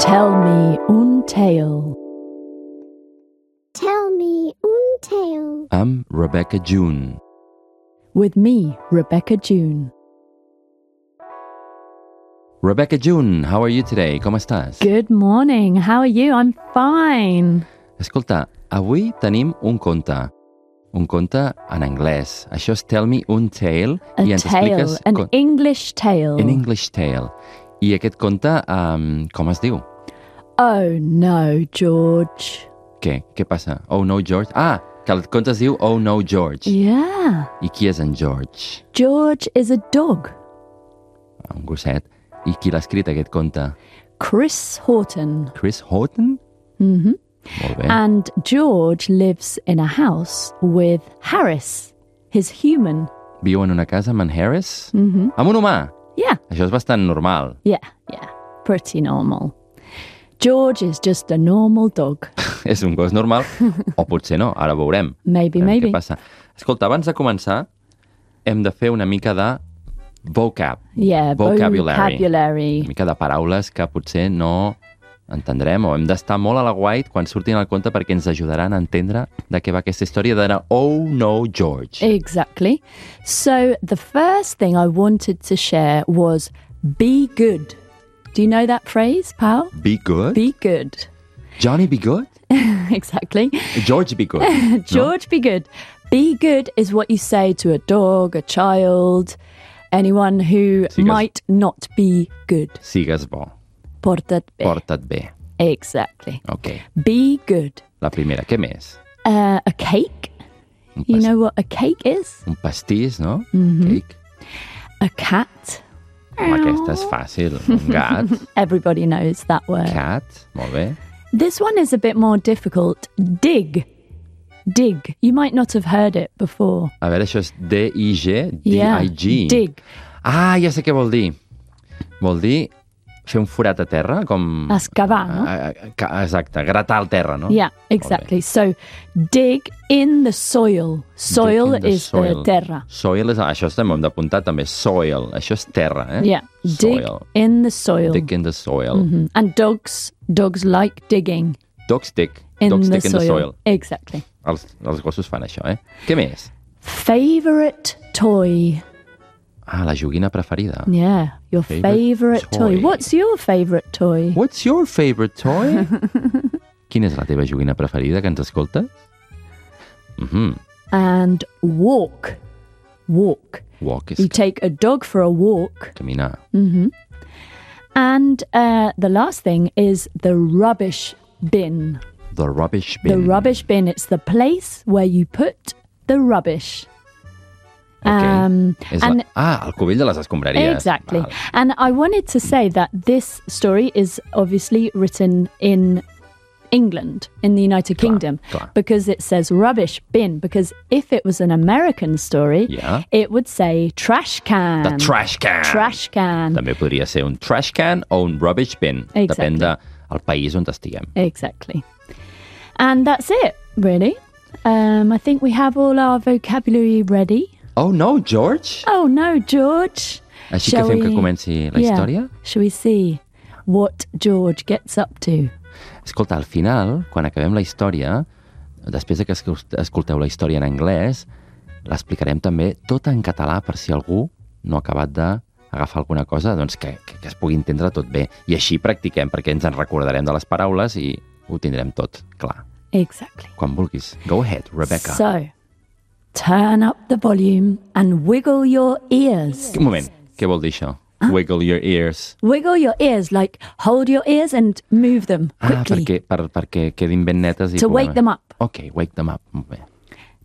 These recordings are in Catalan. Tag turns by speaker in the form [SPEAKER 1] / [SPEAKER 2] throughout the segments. [SPEAKER 1] Tell me un tale.
[SPEAKER 2] Tell me un tale.
[SPEAKER 3] I'm Rebecca June.
[SPEAKER 1] With me, Rebecca June.
[SPEAKER 3] Rebecca June, how are you today? Com estàs?
[SPEAKER 1] Good morning. How are you? I'm fine.
[SPEAKER 3] Escolta, avui tenim un conte. Un conte en anglès. Això és Tell Me Un Tale.
[SPEAKER 1] A
[SPEAKER 3] i ens
[SPEAKER 1] tale,
[SPEAKER 3] expliques...
[SPEAKER 1] an
[SPEAKER 3] con-
[SPEAKER 1] English tale.
[SPEAKER 3] An English Tale. I aquest conte, um, com es diu?
[SPEAKER 1] oh no, George.
[SPEAKER 3] Què? Què passa? Oh no, George? Ah, que el conte es diu Oh no, George.
[SPEAKER 1] Yeah.
[SPEAKER 3] I qui és en George?
[SPEAKER 1] George is a dog.
[SPEAKER 3] Un gosset. I qui l'ha escrit, aquest conte?
[SPEAKER 1] Chris Horton.
[SPEAKER 3] Chris Horton?
[SPEAKER 1] hmm
[SPEAKER 3] Molt bé.
[SPEAKER 1] And George lives in a house with Harris, his human.
[SPEAKER 3] Viu en una casa amb en Harris?
[SPEAKER 1] hmm
[SPEAKER 3] Amb un humà!
[SPEAKER 1] Yeah.
[SPEAKER 3] Això és bastant normal.
[SPEAKER 1] Yeah, yeah, pretty normal. George is just a normal dog.
[SPEAKER 3] és un gos normal, o potser no, ara veurem.
[SPEAKER 1] Maybe,
[SPEAKER 3] Veurem
[SPEAKER 1] maybe.
[SPEAKER 3] Què passa. Escolta, abans de començar, hem de fer una mica de vocab,
[SPEAKER 1] Yeah,
[SPEAKER 3] vocabulary. una
[SPEAKER 1] vocabulary.
[SPEAKER 3] mica de paraules que potser no entendrem o hem d'estar molt a la guait quan surtin al compte perquè ens ajudaran a entendre de què va aquesta història d'anar Oh No
[SPEAKER 1] Eh,
[SPEAKER 3] George.
[SPEAKER 1] Exactly. So, the first thing I wanted to share was be good. Do you know that phrase, pal?
[SPEAKER 3] Be good?
[SPEAKER 1] Be good.
[SPEAKER 3] Johnny be good?
[SPEAKER 1] exactly.
[SPEAKER 3] George be good? no?
[SPEAKER 1] George, be good. Be good is what you say to a dog, a child, anyone who
[SPEAKER 3] Sigues-
[SPEAKER 1] might not be good.
[SPEAKER 3] Sigues bo,
[SPEAKER 1] Portat bé.
[SPEAKER 3] porta't bé.
[SPEAKER 1] Exactly.
[SPEAKER 3] Ok,
[SPEAKER 1] Be good.
[SPEAKER 3] la primera, què més?
[SPEAKER 1] Uh, a cake.
[SPEAKER 3] Un,
[SPEAKER 1] You
[SPEAKER 3] pas-
[SPEAKER 1] know what a cake is?
[SPEAKER 3] un pastís, no?
[SPEAKER 1] Mhm.
[SPEAKER 3] Cake.
[SPEAKER 1] A cat.
[SPEAKER 3] Home, aquesta és fàcil. Un gat,
[SPEAKER 1] Everybody knows that word.
[SPEAKER 3] cat, molt bé.
[SPEAKER 1] This one is a bit more difficult. Dig. Dig. You might not have heard it before.
[SPEAKER 3] A veure, això és D-I-G,
[SPEAKER 1] Yeah.
[SPEAKER 3] D-I-G.
[SPEAKER 1] Dig.
[SPEAKER 3] Ah, ja sé què vol dir. Vol dir fer un forat a terra, com...
[SPEAKER 1] Excavar, no?
[SPEAKER 3] Ah, ah, ca- Exacte, gratar al terra, no?
[SPEAKER 1] Yeah, exactly. So dig in the soil. Soil
[SPEAKER 3] in the
[SPEAKER 1] is
[SPEAKER 3] soil.
[SPEAKER 1] the terra.
[SPEAKER 3] Soil és... ah, Això estem hem d'apuntar també, soil. Això és terra, eh?
[SPEAKER 1] Yeah. Dig
[SPEAKER 3] Soil.
[SPEAKER 1] in the soil.
[SPEAKER 3] Dig in the soil.
[SPEAKER 1] Mhm. And dogs dogs like digging
[SPEAKER 3] Dogs dig.
[SPEAKER 1] in,
[SPEAKER 3] Dogs
[SPEAKER 1] the,
[SPEAKER 3] dig in
[SPEAKER 1] soil.
[SPEAKER 3] the soil.
[SPEAKER 1] Exactly.
[SPEAKER 3] Els, els gossos fan això, eh? Què més?
[SPEAKER 1] Favorite toy.
[SPEAKER 3] Ah, la joguina preferida.
[SPEAKER 1] Yeah, your
[SPEAKER 3] Favorite
[SPEAKER 1] favorite, toy.
[SPEAKER 3] toy.
[SPEAKER 1] What's your favorite toy?
[SPEAKER 3] What's your favorite toy? Quina és la teva joguina preferida que ens escoltes? Mhm.
[SPEAKER 1] And walk. Walk.
[SPEAKER 3] Walk is
[SPEAKER 1] You take a dog for a walk.
[SPEAKER 3] caminar.
[SPEAKER 1] Mm. And uh, the last thing is the rubbish bin.
[SPEAKER 3] The rubbish
[SPEAKER 1] The
[SPEAKER 3] bin.
[SPEAKER 1] rubbish bin, it's the place where you put the rubbish. Um,
[SPEAKER 3] és
[SPEAKER 1] and
[SPEAKER 3] la... Ah, el cubell de les escombraries.
[SPEAKER 1] Exactly.
[SPEAKER 3] Val.
[SPEAKER 1] And I wanted to say that this story is obviously written in England, in the United Kingdom,
[SPEAKER 3] clar.
[SPEAKER 1] because it says rubbish bin. Because if it was an American story,
[SPEAKER 3] Yeah.
[SPEAKER 1] it would say trash can.
[SPEAKER 3] The trash
[SPEAKER 1] Um,
[SPEAKER 3] can.
[SPEAKER 1] Trash can.
[SPEAKER 3] També podria ser un trash can o un rubbish bin.
[SPEAKER 1] Exactly.
[SPEAKER 3] Depèn de el país on estiguem.
[SPEAKER 1] Exactly. And that's it, really. Um, I think we have all our vocabulary ready.
[SPEAKER 3] Oh no, George!
[SPEAKER 1] Oh no, George.
[SPEAKER 3] Així
[SPEAKER 1] Shall
[SPEAKER 3] que fem
[SPEAKER 1] we-
[SPEAKER 3] que comenci la
[SPEAKER 1] Yeah.
[SPEAKER 3] història.
[SPEAKER 1] Shall we see what George gets up to?
[SPEAKER 3] Escolta, al final, quan acabem la història, després de que escol- escolteu la història en anglès, l'explicarem també tot en català per si algú no ha acabat d'agafar alguna cosa doncs que, que, que es pugui entendre tot bé. I així practiquem, perquè ens en recordarem de les paraules i ho tindrem tot clar.
[SPEAKER 1] Exactly.
[SPEAKER 3] Quan vulguis. Go ahead, Rebecca.
[SPEAKER 1] So, turn up the volume and wiggle your ears.
[SPEAKER 3] Un moment, què vol dir això?
[SPEAKER 1] Ah?
[SPEAKER 3] Wiggle your ears.
[SPEAKER 1] Wiggle your ears, like hold your ears and move them
[SPEAKER 3] Ah,
[SPEAKER 1] quickly
[SPEAKER 3] perquè, per, perquè quedin ben netes i...
[SPEAKER 1] to wake them up.
[SPEAKER 3] Ok, wake them up. Molt bé.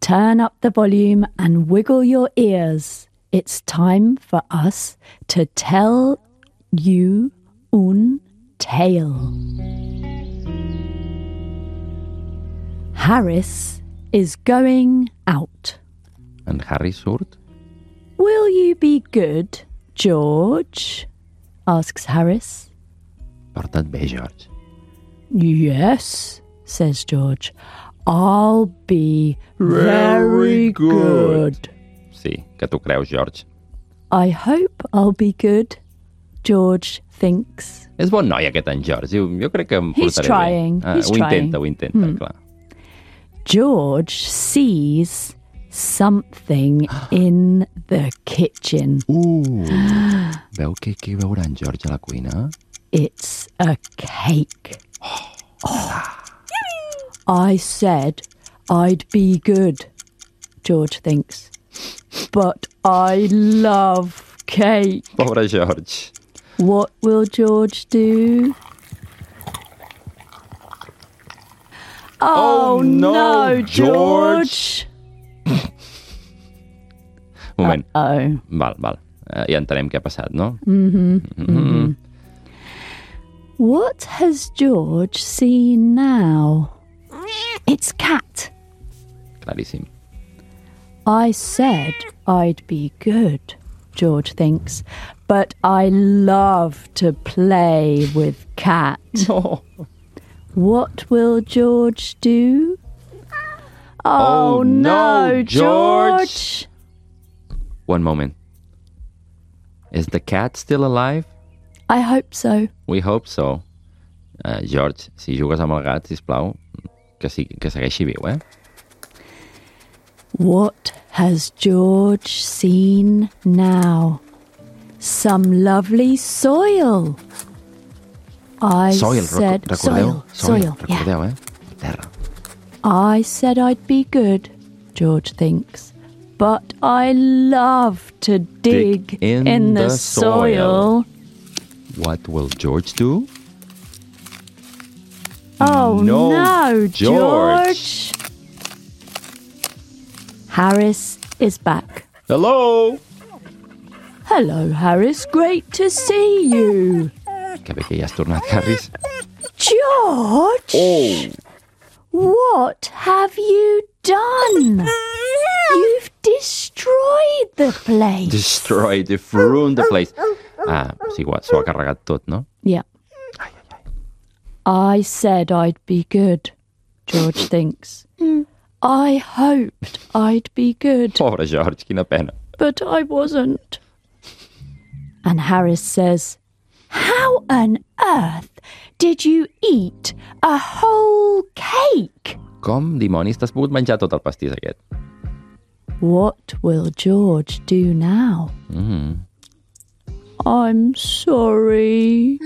[SPEAKER 1] Turn up the volume and wiggle your ears. It's time for us to tell you un tale. Harris is going out.
[SPEAKER 3] En Harry surt?
[SPEAKER 1] Will you be good, George? asks Harris.
[SPEAKER 3] Porta't bé, George.
[SPEAKER 1] Yes, says George. I'll be
[SPEAKER 3] Very
[SPEAKER 1] very
[SPEAKER 3] good."
[SPEAKER 1] good.
[SPEAKER 3] Sí, que tu creus, George.
[SPEAKER 1] I hope I'll be good, George thinks.
[SPEAKER 3] És bon noi, aquest en George. Diu, jo crec que em
[SPEAKER 1] He's
[SPEAKER 3] portaré
[SPEAKER 1] trying,
[SPEAKER 3] bé. Ah,
[SPEAKER 1] he's
[SPEAKER 3] ho intenta,
[SPEAKER 1] trying. Hmm.
[SPEAKER 3] ho intenta, mm. clar.
[SPEAKER 1] George sees something in the kitchen.
[SPEAKER 3] Uh. Veu què, què veurà en George a la cuina?
[SPEAKER 1] It's a cake. Oh. I said I'd be good, George thinks. But I love cake.
[SPEAKER 3] Pobre George.
[SPEAKER 1] What will George do? Oh,
[SPEAKER 3] no,
[SPEAKER 1] George!
[SPEAKER 3] Un moment.
[SPEAKER 1] Oh.
[SPEAKER 3] Val, val. Eh, Ja entenem què ha passat, no?
[SPEAKER 1] Mm. What has George seen now? It's cat.
[SPEAKER 3] Claríssim.
[SPEAKER 1] I said I'd be good, George thinks, but I love to play with cat.
[SPEAKER 3] No.
[SPEAKER 1] What will George do? Oh,
[SPEAKER 3] Oh, no,
[SPEAKER 1] George!
[SPEAKER 3] George. One moment. Is the cat still alive?
[SPEAKER 1] I hope so.
[SPEAKER 3] We hope so. Uh, George, si jugues amb el gat, sisplau, que, sigui, que segueixi viu, eh?
[SPEAKER 1] What has George seen now? Some lovely soil. I
[SPEAKER 3] Soil,
[SPEAKER 1] said
[SPEAKER 3] rec recordeu?
[SPEAKER 1] soil, soil, yeah.
[SPEAKER 3] recordeu, eh? Terra.
[SPEAKER 1] I said I'd be good, George thinks. But I love to dig,
[SPEAKER 3] Dig in
[SPEAKER 1] the,
[SPEAKER 3] the
[SPEAKER 1] soil.
[SPEAKER 3] soil. What will George do?
[SPEAKER 1] Oh
[SPEAKER 3] No,
[SPEAKER 1] no, George.
[SPEAKER 3] George.
[SPEAKER 1] Harris is back.
[SPEAKER 3] Hello!
[SPEAKER 1] Hello, Harris. Great to see you.
[SPEAKER 3] Que bé que ja has tornat, Harris.
[SPEAKER 1] George,
[SPEAKER 3] Oh!
[SPEAKER 1] what have you done? You've destroyed the place.
[SPEAKER 3] Destroyed, you've ruined the place. Ah, és igual, s'ho ha carregat tot, no?
[SPEAKER 1] Yeah. I said I'd be good, George thinks. I hoped I'd be good,
[SPEAKER 3] Pobre George, quina pena.
[SPEAKER 1] but I wasn't. And Harris says, How on earth did you eat a whole cake?
[SPEAKER 3] Com, dimonis, t'has pogut menjar tot el pastís aquest?
[SPEAKER 1] What will George do now?
[SPEAKER 3] Mm.
[SPEAKER 1] I'm sorry,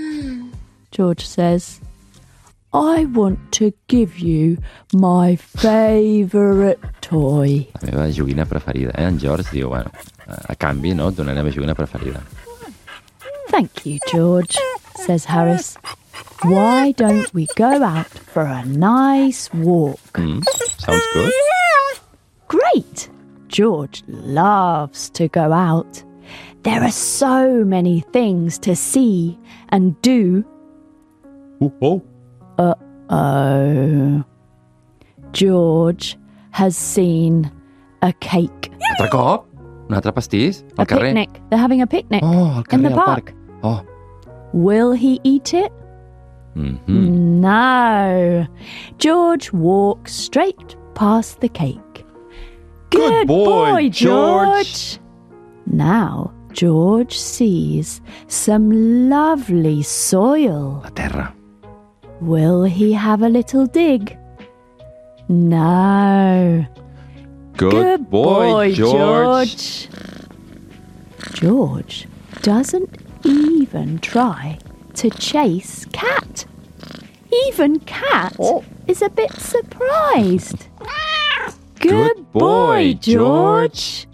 [SPEAKER 1] George says. I want to give you my favourite toy.
[SPEAKER 3] La meva joguina preferida, eh? En George diu, bueno, a a canvi, no? Et donaré la meva joguina preferida.
[SPEAKER 1] Thank you, George, says Harris. Why don't we go out for a nice walk?
[SPEAKER 3] Mm. Sounds good.
[SPEAKER 1] Great! George loves to go out. There are so many things to see and do
[SPEAKER 3] Uh, oh.
[SPEAKER 1] Oh. George has seen a cake.
[SPEAKER 3] Altre cop? Un altre pastís?
[SPEAKER 1] a
[SPEAKER 3] Al carrer?
[SPEAKER 1] picnic. They're having a picnic.
[SPEAKER 3] Oh, al carrer,
[SPEAKER 1] In the
[SPEAKER 3] al
[SPEAKER 1] park.
[SPEAKER 3] parc. Oh.
[SPEAKER 1] Will he eat it?
[SPEAKER 3] Mm
[SPEAKER 1] No. George walks straight past the cake.
[SPEAKER 3] Good boy,
[SPEAKER 1] George. Now, George sees some lovely soil.
[SPEAKER 3] La terra.
[SPEAKER 1] Will he have a little dig? No.
[SPEAKER 3] Good,
[SPEAKER 1] George. George doesn't even try to chase Cat. Even Cat
[SPEAKER 3] Oh.
[SPEAKER 1] is a bit surprised.
[SPEAKER 3] Good boy,
[SPEAKER 1] George.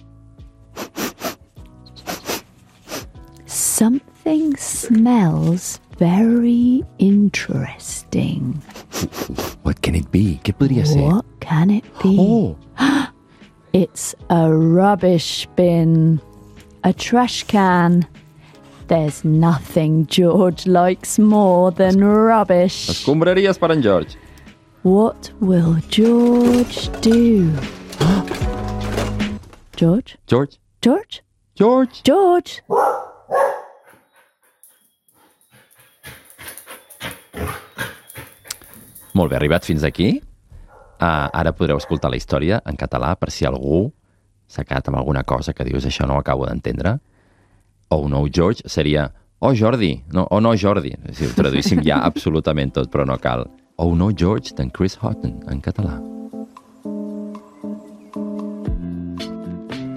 [SPEAKER 1] Something smells very interesting.
[SPEAKER 3] What can it be? Què podria ser?
[SPEAKER 1] What can it be?
[SPEAKER 3] Oh,
[SPEAKER 1] It's a rubbish bin, a trash can. There's nothing George likes more than rubbish.
[SPEAKER 3] escombraries per en George.
[SPEAKER 1] What will George do? George?
[SPEAKER 3] George?
[SPEAKER 1] George?
[SPEAKER 3] George?
[SPEAKER 1] George?
[SPEAKER 3] Molt bé, arribat fins aquí. Uh, ara podreu escoltar la història en català per si algú s'ha quedat amb alguna cosa que dius això no ho acabo d'entendre. Oh no, George, seria O Jordi, no, o no Jordi, si ho traduíssim ja absolutament tot, però no cal. O no George d'en Chris Houghton, en català.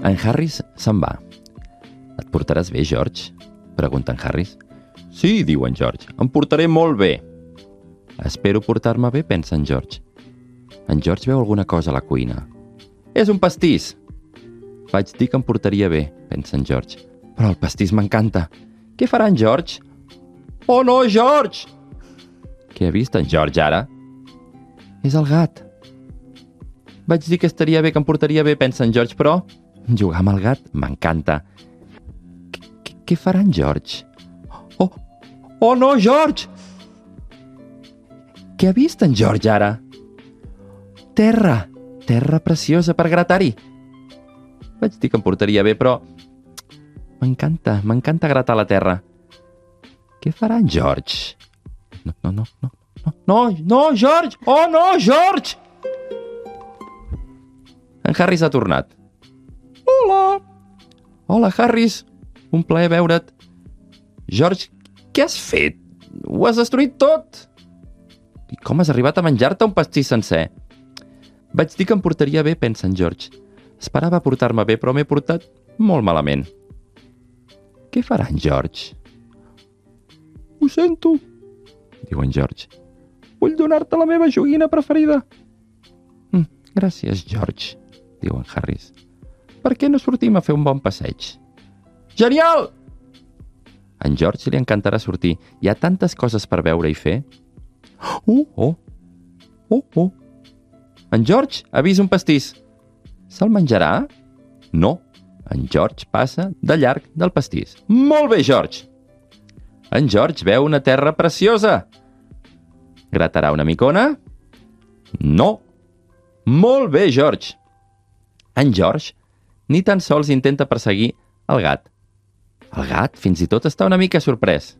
[SPEAKER 3] En Harris se'n va. Et portaràs bé, George? Pregunta en Harris. Sí, diu en George, em portaré molt bé. Espero portar-me bé, pensa en George. En George veu alguna cosa a la cuina. És un pastís! Vaig dir que em portaria bé, pensa en George. Però el pastís m'encanta. Què farà en George? Oh no, George! Què ha vist en George ara? És el gat. Vaig dir que estaria bé, que em portaria bé, pensa en George, però... Jugar amb el gat m'encanta. Qu- qu- Què farà en George? Oh, oh no, George! Què ha vist en George ara? Terra! Terra preciosa per gratar-hi! Vaig dir que em portaria bé, però... M'encanta, m'encanta gratar la terra. Què farà en George? No, no, no, no, no, no, no, George! Oh, no, George! En Harris ha tornat. Hola! Hola, Harris! Un plaer veure't. George, què has fet? Ho has destruït tot! I com has arribat a menjar-te un pastís sencer? Vaig dir que em portaria bé, pensa en George. Esperava portar-me bé, però m'he portat molt malament. Què farà en George? Ho sento, diu en George. Vull donar-te la meva joguina preferida. Mm, gràcies, George, diu en Harris. Per què no sortim a fer un bon passeig? Genial! En George li encantarà sortir. Hi ha tantes coses per veure i fer. Uh, oh! Uh, oh! En George avisa un pastís. Se'l menjarà? No. En George passa de llarg del pastís. Molt bé, George! En George veu una terra preciosa. Gratarà una micona? No. Molt bé, George! En George ni tan sols intenta perseguir el gat. El gat fins i tot està una mica sorprès.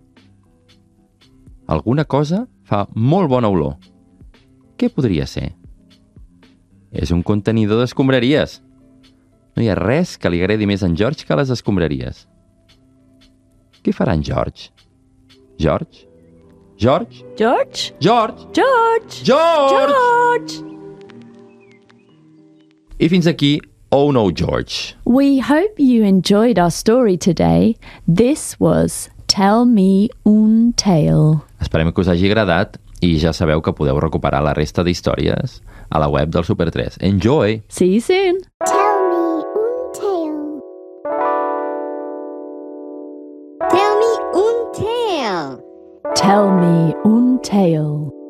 [SPEAKER 3] Alguna cosa fa molt bona olor. Què podria ser? És un contenidor d'escombraries. No hi ha res que li agradi més a en George que les escombraries. Què farà en George? George? George?
[SPEAKER 1] George?
[SPEAKER 3] George?
[SPEAKER 1] George!
[SPEAKER 3] George!
[SPEAKER 1] George!
[SPEAKER 3] I fins aquí, Oh No George.
[SPEAKER 1] We hope you enjoyed our story today. This was Tell Me Un Tale.
[SPEAKER 3] Esperem que us hagi agradat i ja sabeu que podeu recuperar la resta d'històries a la web del Super 3. Enjoy!
[SPEAKER 1] See you soon!
[SPEAKER 2] Tell me un tale. Tell me un tale.
[SPEAKER 1] Tell Me Un Tale.